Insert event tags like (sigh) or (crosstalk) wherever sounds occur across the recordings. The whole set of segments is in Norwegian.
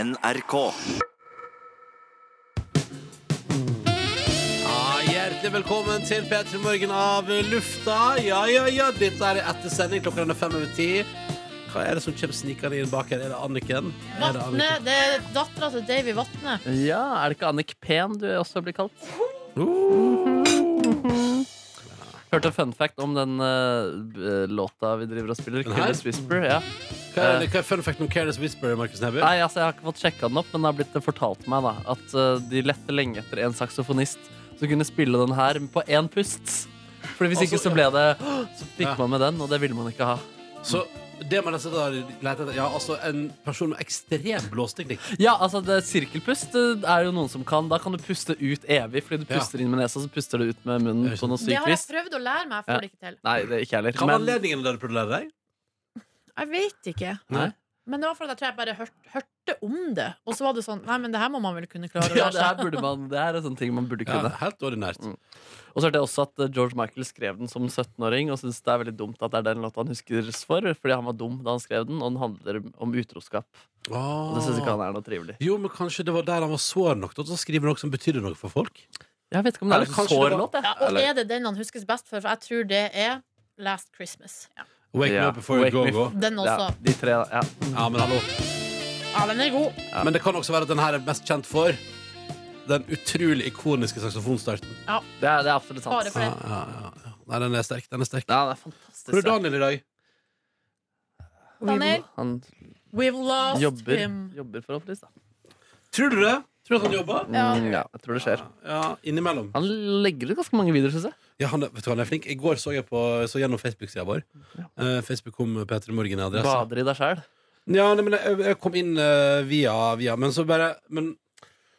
NRK. Ja, hjertelig velkommen til P3 Morgen av lufta. Ja, ja, ja, dette er etter sending. Klokka den er fem over ti. Hva er det som kommer snikende inn bak her? Er det Anniken? Er det Vatne, Anniken? det er dattera til Davy Vatne. Ja, er det ikke Annik Pen du også blir kalt? Uh. (laughs) Hørte en fun fact om den eh, b- låta vi driver og spiller, Den her? Mm. Careless Whisper. Ja. Hva er, det- hva er fun fact om Careless Whisper, Markus Neby? Eh. Nei, altså, jeg har ikke fått sjekka den opp, men det har blitt eh, fortalt meg da at eh, de lette lenge etter en saksofonist som kunne spille den her på én pust. Fordi hvis Altså, ikke så ble det (gasps) Så fikk Ja. man med den, og det ville man ikke ha. Så det man nesten har lett etter Ja, altså en person med ekstrem blåsteknikk. Ja, altså det, Sirkelpust eh, er jo noen som kan. Da kan du puste ut evig, fordi du Ja. puster inn med nesa, så puster du ut med munnen Det er på noe Det sykt har jeg vis. prøvd å lære meg, jeg Ja. får det ikke til. Nei, det er ikke jeg heller. Hva var men- anledningen da du prøvde å lære deg? Jeg vet ikke. Nei. Men det var fordi jeg tror jeg bare hørt, hørte om det. Og så var det sånn Nei, men det her må man vel kunne klare å Ja, lære det her seg. burde man Det her er sånne ting man burde Ja, kunne. helt ordinært. Mm. Og så hørte jeg også at eh, George Michael skrev den som 17-åring, og syns det er veldig dumt at det er den låta han huskes for, fordi han var dum da han skrev den, og den handler om utroskap. Og det syns ikke han er noe trivelig. Ah. Jo, men kanskje det var der han var sår nok til å skrive noe som betydde noe for folk? Jeg vet ikke om det Eller er en sånn kanskje sår det var- låt, jeg. Ja, og er det den han huskes best for? For jeg tror det er Last Christmas. Ja. Wake me Ja, up before you Wake go Me- go. Den Ja, også. de tre, ja. Ja, men hallo. Ja, den er god. Ja. Men det kan også være at den her er mest kjent for den utrolig ikoniske saksofonstarten. Det er, det er absolutt Bare sant. for Ja, det. ja, ja, ja. Nei, den er sterk. Den er sterk. Ja, det er Hvor fantastisk. er Daniel i dag? Daniel, Han we've lost jobber, him. jobber forhåpentligvis, da. Tror du det? Tror du at han jobber? Ja. Mm, ja, jeg tror det skjer. Ja, innimellom. Han legger ut ganske mange videoer, syns jeg. Ja, han, er- vet du, hva, han er flink. I går så jeg på, så gjennom Facebook-sida vår. Eh, Facebook kom Peter Morgen i adresse. Bader i deg sjæl. Ja, nei, men jeg, jeg kom inn eh, via, via Men så bare men,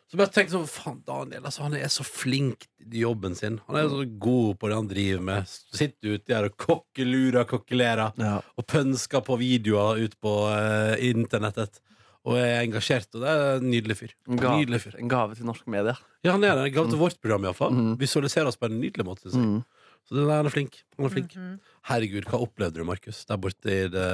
Så bare tenkte jeg sånn Faen, Daniel, altså, han er så flink i jobben sin. Han er så god på det han driver med. Sitter uti her og kokkelurer kokkelerer Ja. og pønsker på videoer ut på eh, internettet. Og er engasjert. Og det er en nydelig fyr. En Nydelig gave, fyr. en gave til norsk media. Ja, han er det. Gav til vårt program, iallfall. Mm. Visualiserer oss på en nydelig måte. synes jeg. Mm. Så det der, han er flink. Han er flink. Mhm. Herregud, hva opplevde du, Markus, der borte i det,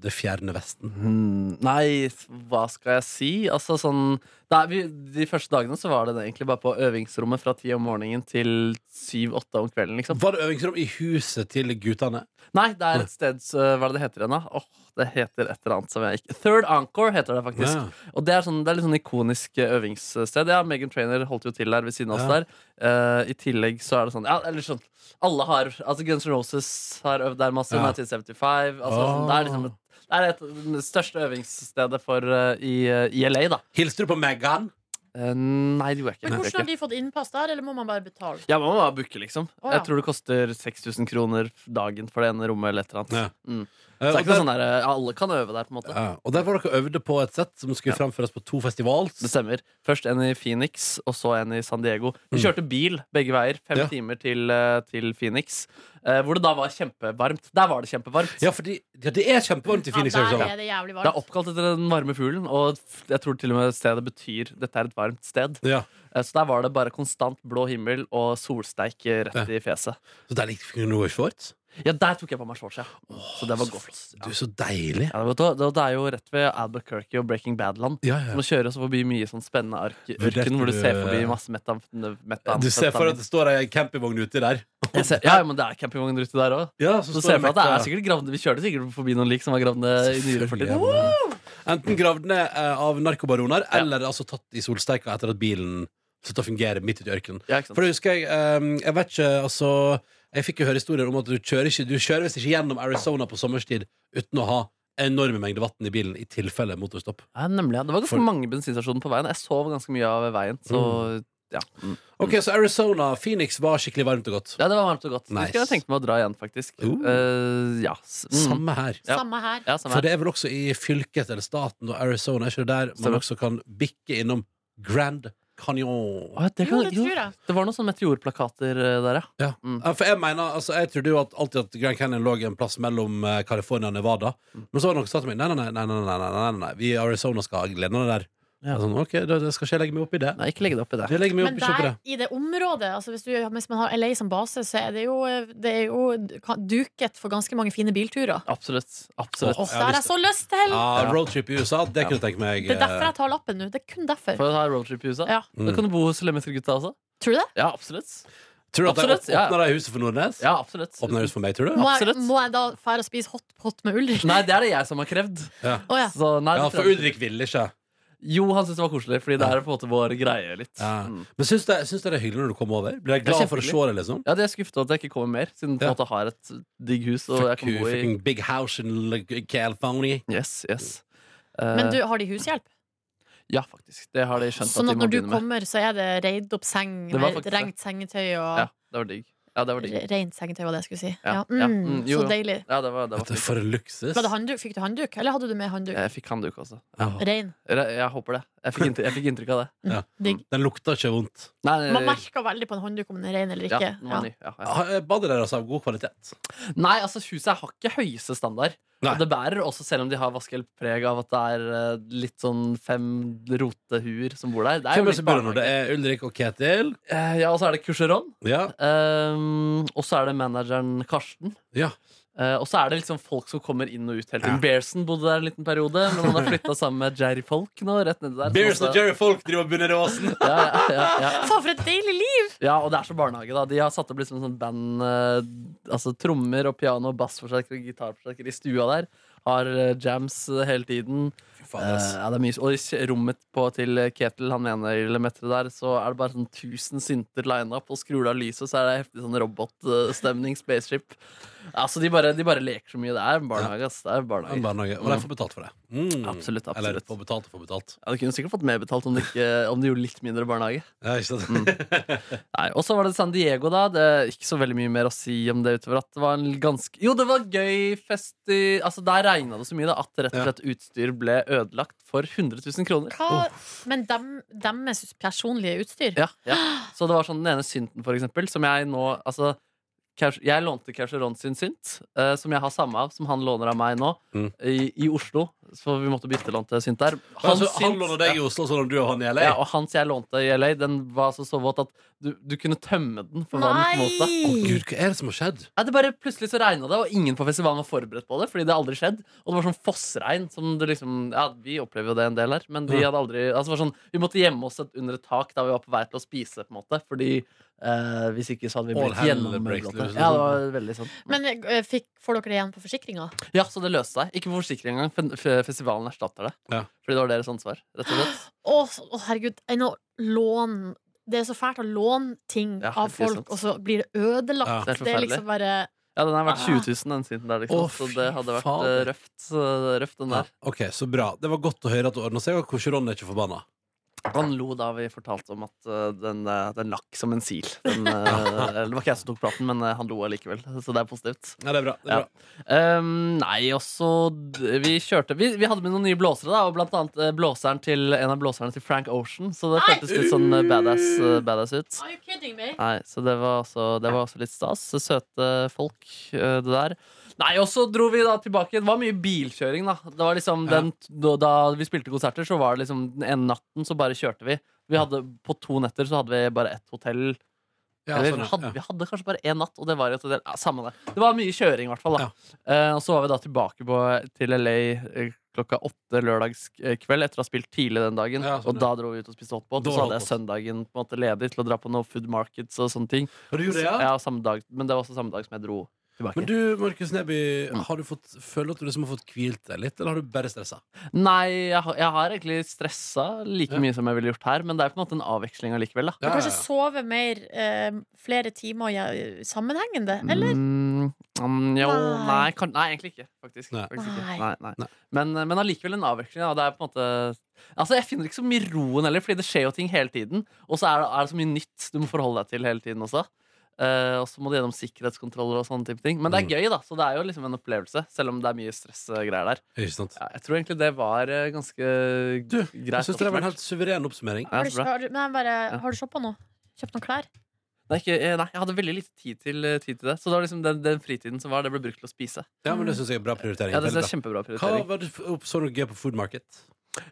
det fjerne Vesten? Hmm, nei, s- hva skal jeg si? Altså sånn nei, vi, De første dagene så var det det egentlig bare på øvingsrommet fra ti om morgenen til syv-åtte om kvelden, liksom. Var det øvingsrom i huset til guttene? Nei, det er et sted s- Hva er det det heter igjen, da? Åh, det heter et eller annet som jeg ikke Third Encore heter det faktisk. Ja. Og det er, sånn, det er litt sånn ikonisk eh, øvingssted. Ja, Megan Trainer holdt jo til der ved siden av oss Ja. der. Eh, I tillegg så er det sånn Ja, eller sånn Alle har Altså Guns N' Roses har øvd der masse. Ja. 1975. Altså, Ah. sånn, det er liksom et det er et, det største øvingsstedet for eh, i, i LA, da. Hilste du på Meghan? Eh, nei, det gjorde jeg ikke. Men Det gjorde hvordan jeg har ikke. de fått innpass der, eller må man bare betale? Ja, Man må bare booke, liksom. Å, ja. Jeg tror det koster 6000 kroner dagen for det ene rommet. eller et eller annet Ja. mm. Eh, Så det er og, ikke noe der, sånn der, eh, Alle kan øve der, på en måte. ja, og der var dere øvde på et sett som skulle Ja. fremføres på to festivals. Det stemmer. Først en i Phoenix, og så en i San Diego. Vi Mm. kjørte bil begge veier, fem Ja. timer til, eh, til Phoenix, eh, hvor det da var kjempevarmt. Der var det kjempevarmt. Ja, fordi, ja, det er kjempevarmt i Phoenix. ja, også. der er det jævlig Det er varmt. oppkalt etter den varme fuglen, og f- jeg tror til og med stedet betyr 'dette er et varmt sted'. Ja. Eh, Så der var det bare konstant blå himmel og solsteik eh, rett Ja. i fjeset. Så der ligger Norway Shorts. Ja, der tok jeg på meg shorts, ja. Så det var så godt. Du, Ja. så deilig. Ja, det, var, det- det er jo rett ved Albuquerque og Breaking Bad-land. Ja, Du ja. må kjøre også forbi mye sånn spennende ark Vurderte ørken, hvor du du- ser forbi masse metam... metam Du ser for deg at det står ei campingvogn uti der. Jeg ser, ja, men det er campingvogner ute der òg. Ja, Så ser jeg for meg at det er sikkert gravd Vi kjørte sikkert forbi noen lik som var gravd ned i nyere fortid. Enten gravd ned eh, av narkobaroner, Ja. eller altså tatt i solsteika etter at bilen slutta å fungere midt ute i ørkenen. Ja, ikke sant? For det husker jeg ehm, Jeg vet ikke, altså Jeg fikk jo høre historier om at du kjører ikke Du kjører visst ikke gjennom Arizona på sommerstid Uten å ha enorme mengder vatten i bilen I tilfelle motorstopp ja, nemlig, ja. Det var ganske For- mange bensinstasjoner på veien. Jeg sov ganske mye av veien. Så ja. Ok, Mm. så Arizona, Phoenix var skikkelig varmt og godt ja, det var varmt og godt. Nice. Det skulle jeg tenkt meg å dra igjen, faktisk. Uh. Eh, ja. s- Mm. Samme her Ja. Samme her. ja, samme For her. det er vel også i fylket eller staten og Arizona Er ikke det der man Stemmer. også kan bikke innom Grand Canyon Å, ja, det, Jo, kan, det jo, tror jeg. det var noen sånne meteorplakater eh, der, ja. Ja. Mm. Ja, For jeg mener, altså, jeg trodde jo at alltid at Grand Canyon lå en plass mellom eh, Mm. California og Nevada. Men så var det noen som sa til meg nei, nei, nei, nei, nei, nei, nei, nei, nei, nei. vi i Arizona skal ha gledene der. Ja. Jeg er Sånn, ok, da da skal ikke jeg legge meg opp i det. Nei, ikke legg det opp i det. Jeg legger meg Men opp, ikke opp i der, det. i det området, altså hvis, du, hvis man har LA som base, så er det jo, det er jo ka- duket for ganske mange fine bilturer. Absolutt. Absolutt. Åh, Og jeg så har lyst har jeg så lyst til! Ja, Roadtrip i USA, det kunne jeg tenke meg. Det er derfor eh, jeg tar lappen nå. Det er kun derfor. For å ha roadtrip i USA. Ja. Da kan du bo hos Lemmestergutta også. Tror du det? Ja, absolutt. eh, Tror du at de Absolutt, ja. åpner de huset for Nordnes? Ja, absolutt. Åpner de huset for meg, tror du? Må jeg, Absolutt. må jeg da fære og spise hot pot med Ulrik? Nei, det er det jeg som har krevd. Ja. Å ja. Så, nei, Ja, det tror for jeg ikke. Ulrik ville ikke. Jo, han syntes det var koselig, fordi det er på en måte vår greie litt. Ja. Mm. Men syns du syns du det er hyggelig når du kommer over? Blir jeg Det er glad for å se kjempehyggelig. deg, liksom? Ja, det er skuffet over at jeg ikke kommer mer, siden jeg på Ja. en måte har et digg hus. Og jeg Fuck kan you, bo i fucking big house in L- California. Yes, yes. Men Eh, du, har de hushjelp? Ja, faktisk. Det har de skjønt Sånn at at de må når du begynne med. kommer, så er det reid opp seng, Det var med faktisk rengt sengetøy og Ja, det var digg. Ja, det var digg. re- Rent sengetøy, var det jeg skulle si. Ja, Ja. ja, Mm, mm, jo, Så jo. deilig. Ja, det var, det var Dette er fint. for en luksus. Var det handduk? Fikk du handduk, eller hadde du med handduk? Jeg fikk handduk også. Ja. Rein. Eller, jeg håper det. Jeg fikk inntrykk, jeg fikk inntrykk av det. Ja. mm. Digg. Den lukta ikke vondt. Nei, Man merker veldig på en håndduk om den er rein eller Eh, ja, ikke. den var Ja. ny. Ja, ja. Ah, Badet deres har god kvalitet. Nei, altså huset har ikke høyeste standard. Nei. Og det bærer også, selv om de har vaskehjelp preg av at det er eh, litt sånn fem rotehuer som bor der. Det er Hvem er jo det litt som bor der nå? Det barnehage. er Ulrik og Ketil. Eh, Ja, og så er det Coucheron. Ja. Um, og så er det manageren Karsten. ja. Eh, og så er det liksom folk som kommer inn og ut hele tiden. Ja. Bearson bodde der en liten periode, men han har flytta sammen med Jerry-folk nå. rett nedi der Beers Så- og Jerry Folk driver og bunner i (laughs) åsen. ja, ja, ja, ja. Faen, for et deilig liv! ja, og det er så barnehage, da. De har satt opp liksom sånn band eh, Altså trommer og piano og bassforsterker og gitarforsterker i stua der. Har eh, jams eh, hele tiden. Fy Eh, faen, ass. ja, det er mye, og i kje- rommet på til eh, Ketil, han ene lemmeteret der, så er det bare sånn 1000 synter lina opp, og skrur du av lyset, så er det heftig sånn robotstemning, spaceship. Altså, de bare, de bare leker så mye. Det er en barnehage, ass. Det er en En barnehage. barnehage. Og de får betalt for det. Mm. Absolutt, absolutt. Eller får betalt og får betalt. Ja, du kunne sikkert fått mer betalt om de, ikke, om de gjorde litt mindre barnehage. Ja, ikke sant? Mm. (laughs) Nei, Og så var det San Diego, da. Det er ikke så veldig mye mer å si om det utover at det var en ganske Jo, det var gøy fest i Altså, der regna det så mye da at rett og slett utstyr ble ødelagt for 100 000 kroner. Hva? Men dem, deres personlige utstyr? (gasps) Ja, ja. Så det var sånn den ene synten, for eksempel, som jeg nå Altså, Cash- jeg lånte Casheron sin synt, eh, som jeg har samme av, som han låner av meg nå, Mm. i, i Oslo. Så vi måtte byttelånte synt der. Han, Hans Altså, han synt- låner deg i Oslo, sånn om du og han i LA. Ja, og hans jeg lånte i LA, den var altså så våt at du, du kunne tømme den for vann. på en måte. Å, Nei! Gud, hva er det som har skjedd? Nei, det bare Plutselig så regna det, og ingen på festivalen var forberedt på det. Fordi det hadde aldri skjedd Og det var sånn fossregn. Som det liksom, ja, Vi opplever jo det en del her, men vi Ja. hadde aldri altså det var sånn, Vi måtte gjemme oss et, under et tak da vi var på vei til å spise. på en måte Fordi eh, Hvis ikke så hadde vi All blitt hell breaks gjennomblått. loose, liksom. Ja, det var veldig sånn Men eh, fikk, får dere det igjen på forsikringa? Ja, så det løste seg. Ikke på forsikring engang. fen- f- Festivalen erstatter det. Ja. Fordi det var deres ansvar. rett og slett Å, så- å, herregud. Enn å låne Det er så fælt å låne ting Ja, av det er folk, sant. og så blir det ødelagt. Ja, det er det er forferdelig. liksom bare Ja, Den er verdt Ah. 20 000, den siden der. Liksom. Å, så fy det hadde vært fader. eh, røft, eh, røft, den Ja, der. ok, så bra. Det var godt å høre at det ordna seg, og hvordan Ron er ikke forbanna. Han lo da vi fortalte om at eh, den, eh, den lakk som en sil. Den, eh, det var ikke jeg som tok praten, men eh, han lo allikevel. Så det er positivt. Ja, det er bra. Det er Ja. Ehm, nei, også d- Vi kjørte Vi, vi hadde med noen nye blåsere, da, og blant annet eh, blåseren til, en av blåserne til Frank Ocean. Så det Nei! føltes litt sånn eh, badass, eh, badass ut. Are you kidding me? Nei, så det var, også, det var også litt stas. Søte folk, eh, det der. Nei, og så dro vi da tilbake. Det var mye bilkjøring, da. Det var liksom Ja. den, da, da vi spilte konserter, så var det liksom den ene natten så bare kjørte vi. Vi hadde, På to netter så hadde vi bare ett hotell. bra. Ja, Eller, sånn, ja. hadde, Vi hadde kanskje bare én natt, og det var i et hotell. Ja, samme det. Det var mye kjøring, i hvert fall. da Ja. Eh, Og så var vi da tilbake på, til LA eh, klokka åtte lørdagskveld etter å ha spilt tidlig den dagen. Ja, sånn, og da dro vi ut og spiste hotpot, og Da så hadde jeg hotpot. søndagen på en måte ledig til å dra på noe food markets og sånne ting. Og du gjorde det, ja? Ja, samme dag, men det var også samme dag som jeg dro tilbake. Men du, Markus Neby, Mm. har du fått, føler du at du liksom har fått hvilt deg litt, eller har du bare stressa? Nei, jeg, har- jeg har egentlig stressa like Ja. mye som jeg ville gjort her, men det er på en måte en avveksling allikevel. Da. Du kanskje sove mer eh, flere timer ja, sammenhengende, eller? Mm, mm, jo, Nei. nei, kan, nei, egentlig ikke. Faktisk, Nei. faktisk ikke. Nei, Nei. nei. Nei. Men, eh, men allikevel en avveksling. Da. Det er på en måte Altså, Jeg finner ikke så mye roen heller, fordi det skjer jo ting hele tiden. Og så er, det- er det så mye nytt du må forholde deg til hele tiden også. Eh, og så må du gjennom sikkerhetskontroller og sånne type ting. Men det er gøy, da. Så det er jo liksom en opplevelse, selv om det er mye stressgreier der. Ikke sant? Ja, jeg tror egentlig det var eh, ganske Du, greit. Jeg syns det var en helt suveren oppsummering. Ja, Har så du, bra. har, du- nei, bare, Ja. har du shoppa noe? Kjøpt noen klær? Nei, ikke, eh, nei, jeg hadde veldig lite tid til, eh, tid til det. Så det var liksom den, den fritiden som var, det ble brukt til å spise. Ja, men det syns jeg er bra prioritering. mm. Ja, det, Veldig bra. det er kjempebra Hva prioritering. var det f- opp- så du gøy på Food Market?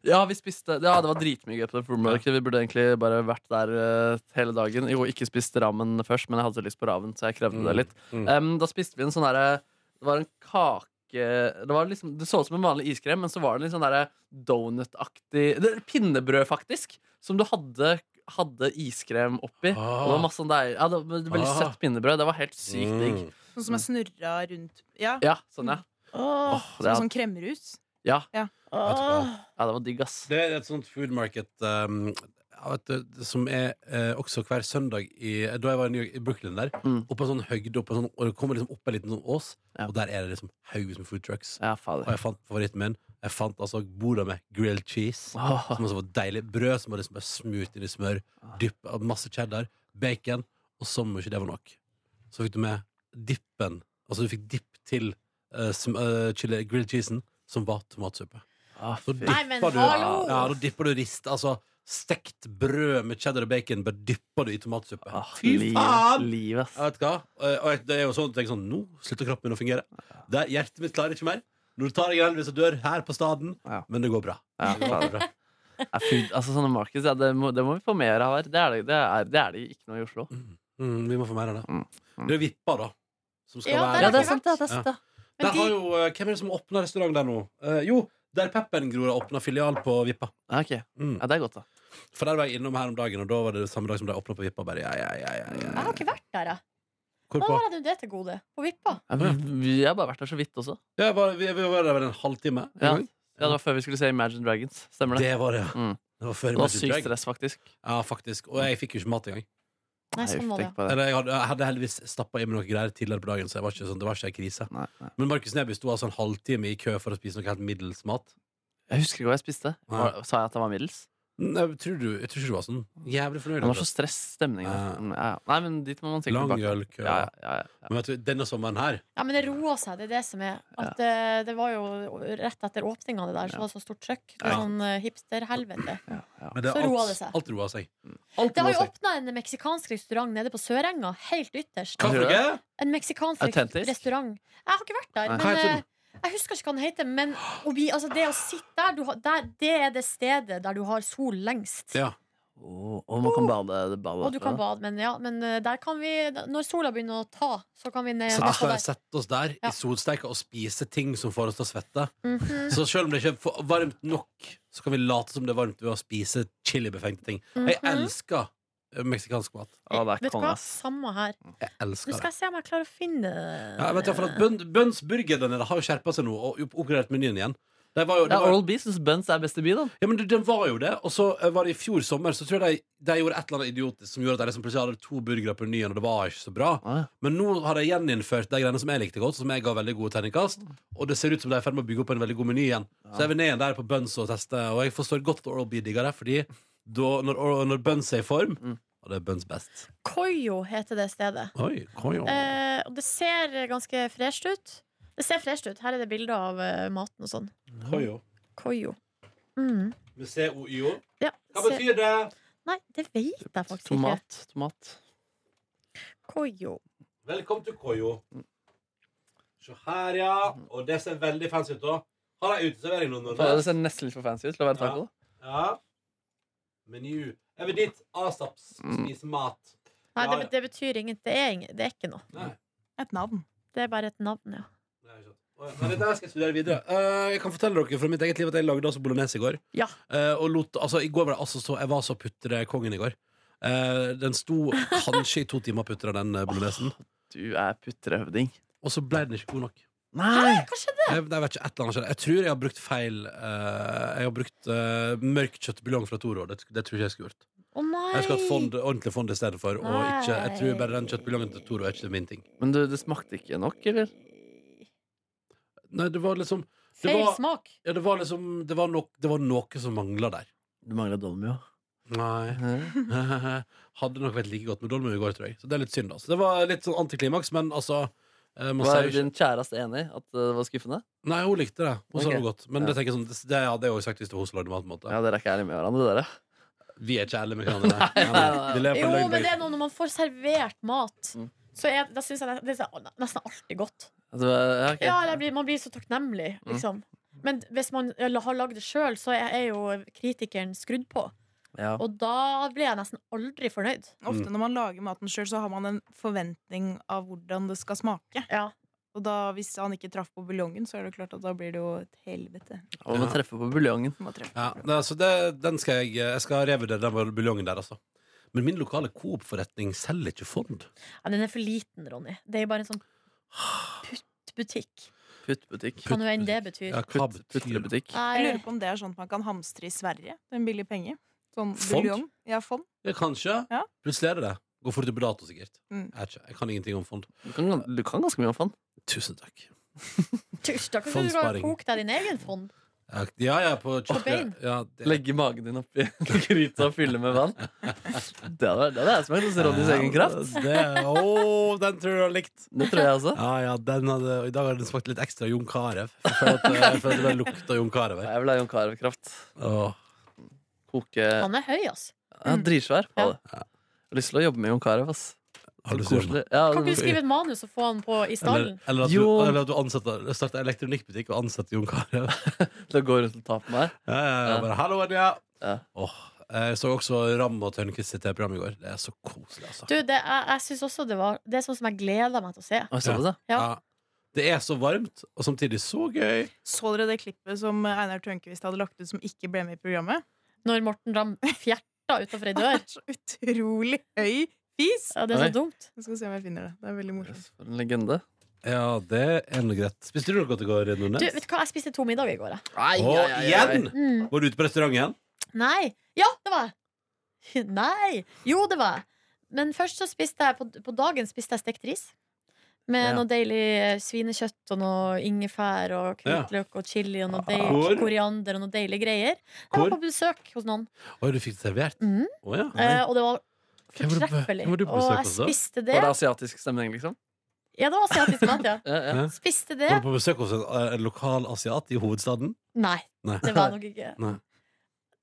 Ja, vi spiste, ja, det var dritmye gøy på det fullmørket. Vi burde egentlig bare vært der eh, hele dagen. Jo, ikke spist ramen først, men jeg hadde så lyst på ramen, så jeg krevde Mm, det litt. mm. Em, da spiste vi en sånn derre Det var en kake det, var liksom, det så ut som en vanlig iskrem, men så var det en sånn derre donutaktig det er Pinnebrød, faktisk, som du hadde, hadde iskrem oppi. Ah. Og det var masse sånn deig ja, det var Veldig Ah. søtt pinnebrød. Det var helt sykt digg. Mm. Sånn som er snurra rundt Ja. Ja, sånn, ja. Åh, Åh, det sånn, er- sånn kremrus. Ja, Åh. ja, det var digg, ass. Det er et sånt food market um, ja, vet du, det som er eh, også hver søndag i, Da jeg var i, New York, i Brooklyn der, Mm. oppe en sånn høgde, oppe en sånn, og det kommer liksom opp en liten sånn ås, Ja. og der er det liksom haugvis med food trucks. Ja, Og fader. jeg fant favoritten min. Jeg fant altså borda med grilled cheese, Åh. som også var deilig. Brød som var liksom bare smurt inn i smør, dypp, og masse cheddar, bacon, og som om ikke det var nok. Så fikk du med dippen, altså du fikk dipp til eh, sm- eh, chili, grilled cheesen, som var tomatsuppe. Ah, Så fy. Nei, men dipper du, hallo! ja, da dipper du rist. Altså stekt brød med cheddar og bacon, bare dypper du i tomatsuppe. Ah, Fy liv- faen! Liv, ass. Jeg vet hva. Eh, Og jeg- det er jo sånn, tenk sånn Nå slutter kroppen min å fungere. Det, hjertet mitt klarer ikke mer. Nå tar jeg heldigvis og dør her på staden, Ja. men det går bra. Ja, Det går fader. bra. Ja, food, altså sånne markeds, ja, det, må, det må vi få mer av her. Det er det, det, er, det er det ikke noe i Oslo. Mm, vi må få mer av Mm, det. mm. Det er Vippa, da. Som skal Ja, være der er det sant, det. sant, det. Der har Men de, jo, eh, Hvem er det som åpner restaurant der nå? Eh, jo, der Peppengror har åpna filial på Vippa. Ja, ok. Mm. ja, det er godt, da. For der var jeg innom her om dagen, og da var det samme dag som de åpna på Vippa. Bare, ja, ja, ja, ja, jeg ja. har ikke vært der, jeg. Hva Hvorpå? har jeg nå det til gode? På Vippa? Ja, vi, vi har bare vært der så vidt også. Ja, var, vi, vi var der vel en halvtime. en Ja. gang. Ja, det var før vi skulle se Imagine Dragons. Stemmer det? Det var det, ja. Mm. Det var før Det var Magic sykt Dragon. stress, faktisk. Ja, faktisk. Og jeg fikk jo ikke mat engang. Nei, sånn var det. tenk på Eller jeg hadde, jeg hadde heldigvis stappa i meg noe greier tidligere på dagen, så jeg var ikke sånn, det var ikke en krise. Nei, nei. Men Markus Neby sto altså en halvtime i kø for å spise noe helt middels mat. Jeg husker ikke hva jeg spiste. Nei. Var- Sa jeg at det var middels? Nei, jeg tror du, jeg tror ikke du var sånn jævlig fornøyd. Det var altså. så stress stemning der. Ja. Ja, ja. Nei, men dit må man sikkert Lang tilbake. ølkø. Ja, ja, ja, ja. Men vet du, denne sommeren her Ja, men det roa seg, det er det som er. At eh, det var jo rett etter åpninga det der, så Ja. var det så stort trøkk. Det Ja. var sånn eh, hipsterhelvete. ja, ja. men det er Så roa alt- det seg. Alt roa seg. Mm. Alt Det roa har jo seg. åpna en meksikansk restaurant nede på Sørenga, helt ytterst. Hva for Tror du noe? En meksikansk Autentisk? restaurant. Jeg har ikke vært der, Nei. Hva men heter den? eh, jeg husker ikke hva den heter. Men å bli- altså, det å sitte der, du har, der, det er det stedet der du har sol lengst. Ja. Å, og man kan bade. bade Og du kan bade, etterpå. men, ja, men eh, der kan vi Når sola begynner å ta, så kan vi ned Så nedpå skal der. vi sette oss der i Ja. solsteika og spise ting som får oss til å svette. Mhm. Så selv om det ikke er for- varmt nok, så kan vi late som det er varmt ved å spise chilibefengte ting. Jeg Mhm. elsker eh, meksikansk mat. Å, det er Vet du kong, hva? ass. Samme her. Jeg elsker Nå det. skal jeg se om jeg klarer å finne Ja, jeg vet i hvert fall at Bøn- Bønns burger der nede har jo skjerpa seg nå og opp- oppgradert menyen igjen. Det var jo, det Ja, var, Oral B syns Buns er best i by, da. ja, men du, Den var jo det, og så eh, var det i fjor sommer Så tror jeg de, de gjorde et eller annet idiotisk som gjorde at de liksom plutselig hadde to burgere på menyen, og det var ikke så bra. Å, ja. Men nå har de gjeninnført de greiene som jeg likte godt, som jeg ga veldig gode terningkast. Og det ser ut som de er i ferd med å bygge opp en veldig god meny igjen. Så jeg vil ned igjen der på Buns og teste, og jeg forstår godt at Oral B digger det, fordi da, når, Oral- når Buns er i form Mm. Og det er Buns best. eh, Koyo heter det stedet. Oi, kojo. Eh, og det ser ganske fresht ut. Det ser fresht ut. Her er det bilder av eh, maten og sånn. Kojo. Koyo. Mm. Med C-O-Y-O. Ja, Hva se- betyr det? Nei, det vet jeg faktisk ikke. Tomat. Tomat. Koyo. Velkommen til Kojo. Se her, ja. Og det ser veldig fancy ut òg. Har de uteservering nå? Faen, Det ser nesten litt for fancy ut til å være taco. da. Ja. Menu. Jeg vil dit asaps. Spise mat. Nei, Ja, det, ja. det betyr ingenting. Det, er ingen- det er ikke noe. Nei. Et navn. Det er bare et navn, ja. det er ikke sant. Å, ja. Men dette her skal jeg studere videre. Eh, jeg kan fortelle dere fra mitt eget liv at jeg lagde altså bolognese i går. Ja. Eh, og lot, altså, i går var det altså så, jeg var så putre kongen i går. Eh, den sto kanskje i to timer putra, den eh, bolognesen. Du er putrehøvding. Og så ble den ikke god nok. Nei! Hva skjedde? Jeg, jeg vet ikke, et eller annet skjedde. Jeg tror jeg har brukt feil eh, Jeg har brukt eh, mørk kjøttbuljong fra Toro. Det, det tror ikke jeg skulle gjort. Å nei! Jeg skal ha et fond, ordentlig fond istedenfor. Og ikke, jeg tror bare den Nei. kjøttbuljongen til Toro er ikke min ting. Men du, det smakte ikke nok, eller? Nei, det var liksom Det Feil var, smak. ja, det var liksom Det var, nok, det var noe som mangla der. Du mangla dolmio. Nei. (laughs) Hadde nok vært like godt med Dolmo i går, tror jeg. Så det er litt synd. Altså. Det var litt sånn antiklimaks, men altså eh, man Var sier jo ikke- din kjæreste enig at det var skuffende? Nei, hun likte det. Hun sa Ok. det var godt. Men Ja. det, tenker jeg sånn, det, det hadde jeg også sagt hvis det var hun som lagde mat. på en måte. Ja, Dere er ikke ærlige med hverandre, dere. Vi er ikke ærlige (laughs) med hverandre. Nei, Nei, nei, nei. Vi lever på Jo, en løgn, men det begge er noe når man får servert mat. Mm. Så er, da syns jeg det, det er nesten alltid godt. Altså, ja, Mm. ok. Ja, eller jeg blir, Man blir så takknemlig, liksom. Men hvis man eller har lagd det sjøl, så er er jo kritikeren skrudd på. Ja. Og da blir jeg nesten aldri fornøyd. Mm. Ofte når man lager maten sjøl, så har man en forventning av hvordan det skal smake. Ja. Og da, hvis han ikke traff på buljongen, så er det klart at da blir det jo et helvete. Og man treffer på buljongen. Man må treffe Ja, altså, på det, så det, den skal jeg, jeg skal revurdere den buljongen der, altså. Men min lokale Coop-forretning selger ikke fond. Ja, den er for liten, Ronny. Det er jo bare en sånn puttbutikk. Puttbutikk. Hva nå enn det betyr. Ja, hva Putt, betyr det? putlebutikk. Jeg lurer Nei, på om det er sånn at man kan hamstre i Sverige til en billig penge. Sånn Fond? buljong. Ja, fond. Ja, Kanskje. Ja. Plutselig er det det. Går fort ut på dato, sikkert. Mm. Jeg, er ikke, jeg kan ingenting om fond. Du kan, du kan ganske mye om fond. Tusen takk. tusj, da kan du jo Fondsparing. koke deg din egen fond. Jeg- Ja, jeg er på bein. kjøkkenet. Ja, det- Legge magen din oppi (laughs) gryta og fylle med vann. Det hadde vært- det hadde jeg smakt hos Ronnys egen kraft. Det, å, den tror jeg du har likt. Det tror jeg også. Ja, ja, den hadde, og I dag har den smakt litt ekstra Jon Carew. For at, eh, for at det bare lukta Jon Carew her. Jeg vil ha Jon Carew-kraft. Åh. Koke ja, Han er høy, ass. Dritsvær. Ja. Ja. Jeg har lyst til å jobbe med Jon Carew. ass. Har du Så lyst til å koselig. Ja, Kan ikke du det- skrive et manus og få han på i Eller, stallen? eller at Jo. du, eller at du ansetter, starter elektronikkbutikk og ansetter Jon Carew. til å gå rundt og ta på meg. Ja, ja, ja. Ja. Bare, Hallo, Anja! Ja. Åh, jeg så også Ram og Tørnquist sitt program i går. Det er så koselig, altså. Du, det, jeg, jeg synes også det var Det er sånn som jeg gleder meg til å se. Oi, så Ja. du det? ja. Det er så varmt, og samtidig så gøy. Så dere det klippet som Einar Tørnquist hadde lagt ut som ikke ble med i programmet? Når Morten Ramm fjerta utafor ei Det dør. er så utrolig høy fis! (laughs) Ja, det er Oi. så dumt. Jeg skal se om jeg finner det. Det er veldig morsomt. Yes, For en legende. Ja, det er noe greit. Spiste du noe godt i går, Du, Nordnes? vet du hva, jeg spiste to middager i går, jeg. Ai, Å, ai, ai, ai. igjen! Mm. Var du ute på restaurant igjen? Nei. Ja, det var jeg. (laughs) Nei. Jo, det var jeg. Men først så spiste jeg på, på dagen spiste jeg stekt ris. Med Ja. noe deilig eh, svinekjøtt og noe ingefær og Ja. Ah. hvitløk og chili og noe Hvor? deilig koriander og noe deilige greier. Jeg Hvor? var på besøk hos noen, Oi, du fikk det servert? Å Mhm. ja. eh, og det var Hvem var du på- fortreffelig. hvem var du på Og besøk jeg hos da? spiste det. Var det asiatisk stemning, liksom? Ja, det var asiatisk (laughs) mat, ja. Ja, ja. Hæ? Spiste Var det. du på besøk hos en, eh, en lokal asiat i hovedstaden? Nei, Nei. det var jeg nok ikke. Nei.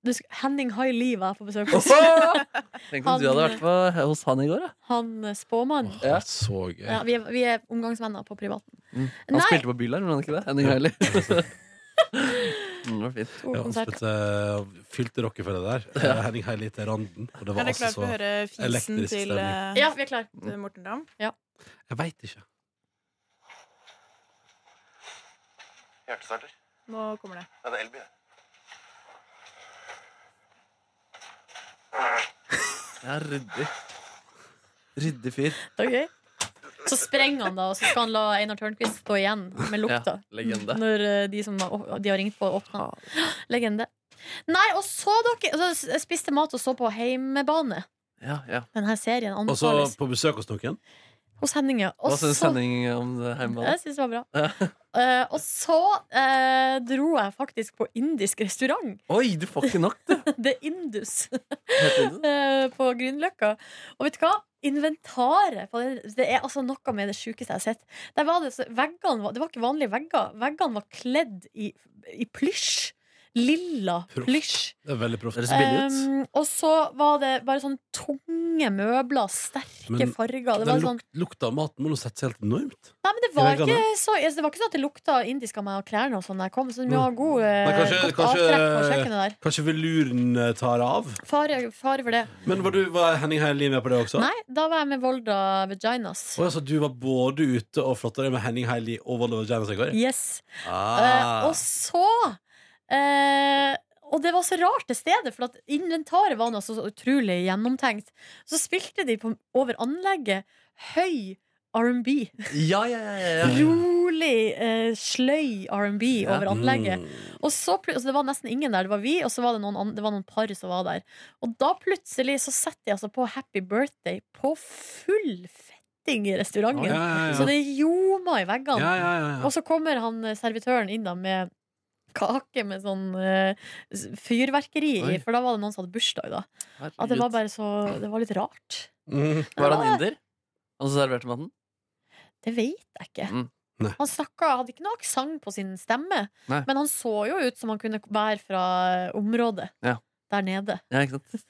Du, sk- Henning Haili var jeg på besøk hos. Oho! Tenk om du Han- hadde vært på, hos han i går. Da. Han eh, spåmannen. Åh, så gøy. Ja, vi, er, vi er omgangsvenner på privaten. Mm. Han Nei, spilte på Bylarm, gjorde han ikke det? Henning Høili. (laughs) mm, det var fint. to Ja, han konserter. spilte, eh, fylte Rockefeller der. Eh, Henning Heili til randen. Og det var Er dere altså klare for så å høre fisen elektrisk til eh, Ja, vi er klar til Morten Ramm? Jeg veit ikke. Hjertestarter. Nå kommer det. Ja, det er elbil. Ja, ryddig. Ryddig fyr. Ok. Så sprenger han da, og så skal han la Einar Tørnquist stå igjen med lukta. Ja, legende. Når eh, de som har, de har ringt på, åpner. (gasps) Legende. Nei, og så dere og så spiste mat og så på heimebane. Ja, ja. Denne serien Og så anbefales på besøk hos noen. hos Henning. Ja. Og Hva syns så- Henning om det hjemme? Jeg syns det var bra. Eh, og så eh, dro jeg faktisk på indisk restaurant. Oi, du får ikke nok, (laughs) du! Det er Indus. (laughs) Heter det det? eh, på Grünerløkka. Og vet du hva? Inventaret på den, Det er altså noe med det sjukeste jeg har sett. Der var det, så, veggene, var- det var ikke vanlige vegger. Veggene var kledd i, i plysj. Lilla Proft. plysj. Det er veldig proft. Høres billig ut. Um, og så var det bare sånn tunge møbler, sterke Men farger. Det Den var luk sånn, lukta av maten må nå sette seg helt enormt. nei, men det i var, veggene. ikke så, altså, det var ikke sånn at det lukta indisk av meg og klærne og sånn da jeg kom. Så du må ha god, eh, Mm. Nei, kanskje- godt kanskje- avtrekk på kjøkkenet der. Kanskje veluren eh, tar av. Fare, fare for det. Men var, du, var Henning Heili med på det også? Nei, da var jeg med Volda Vaginas. Å, altså, du var både ute og flotta deg med Henning Heili og Volvo Janis i går? Yes. Eh, Ah. og så eh, Og det var så rart det stedet, for at inventaret var noe så så utrolig gjennomtenkt. Så spilte de på, over anlegget høy R&B. Ja, ja, ja, ja, ja. Rolig, eh, sløy R&B Ja. over anlegget. Mm. Og så plut- altså Det var nesten ingen der. Det var vi, og så var det noen, an- det var noen par som var der. Og da plutselig så setter de altså på Happy Birthday på full fetting i restauranten. Ja, ja, ja. Så det sånn- ljoma i veggene. ja, ja, ja, ja. Og så kommer han eh, servitøren inn da med kake med sånn eh, s- fyrverkeri i, Oi. for da var det noen som hadde bursdag da. At det var bare så Det var litt rart. Mm. Herregud. Var han inder? Han som serverte maten? Det vet jeg ikke. Mm. Nei. Han snakka, hadde ikke noe aksent på sin stemme, Nei. men han så jo ut som han kunne være fra eh, området Ja. der nede. Ja, ikke sant?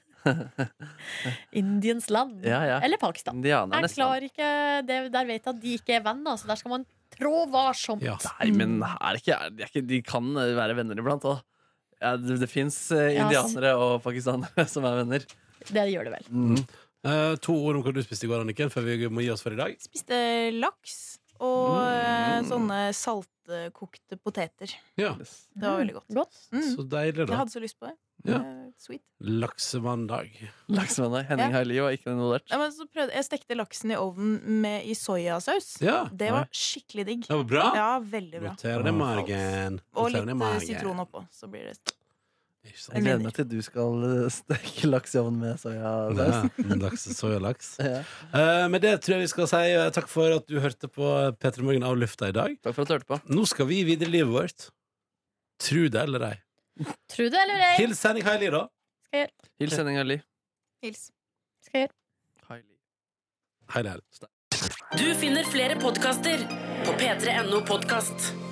Indiens land. Ja, ja. Eller Pakistan. Indianer, Jeg nesten. klarer ikke, det, Der vet jeg at de ikke er venner, så der skal man trå varsomt. Ja. Nei, men er det ikke, er det ikke, de kan eh, være venner iblant òg. Ja, det det fins Ja, ass. indianere og pakistanere (laughs) som er venner. Det gjør det vel. Mhm. Eh, to ord om hva du spiste i går, Anniken, før vi må gi oss for i dag. Spiste laks og eh, Mm. sånne saltkokte poteter. Ja, Det var veldig godt. Godt. Mm. Så deilig, Jeg da. hadde så lyst på det. Ja. Eh, Sweet. Laksemandag. Laksemandag. Henning Haili var ikke involvert. Nei, men så prøvde, jeg stekte laksen i ovnen med, i soyasaus. Ja. Det var skikkelig digg. Det var bra. Ja, veldig bra. Roterer det i margen. Og Roterer litt det i eh, margen. sitron oppå. Så blir det Ikke sant? Jeg gleder meg til du skal eh, (laughs) steke laks i ovnen med (laughs) soyasaus. Ja, laks, soyalaks. Ja. Eh, med det tror jeg vi skal si eh, takk for at du hørte på P3 Morgen av lufta i dag. Takk for at du hørte på. Nå skal vi videre i livet vårt. Tru det eller ei. Tro det eller ei. Hils Henning Haili, da. Hils Henning Haili. Hils. Skal jeg gjøre. Haili. Hei, det er Du finner flere podkaster på p3.no podkast.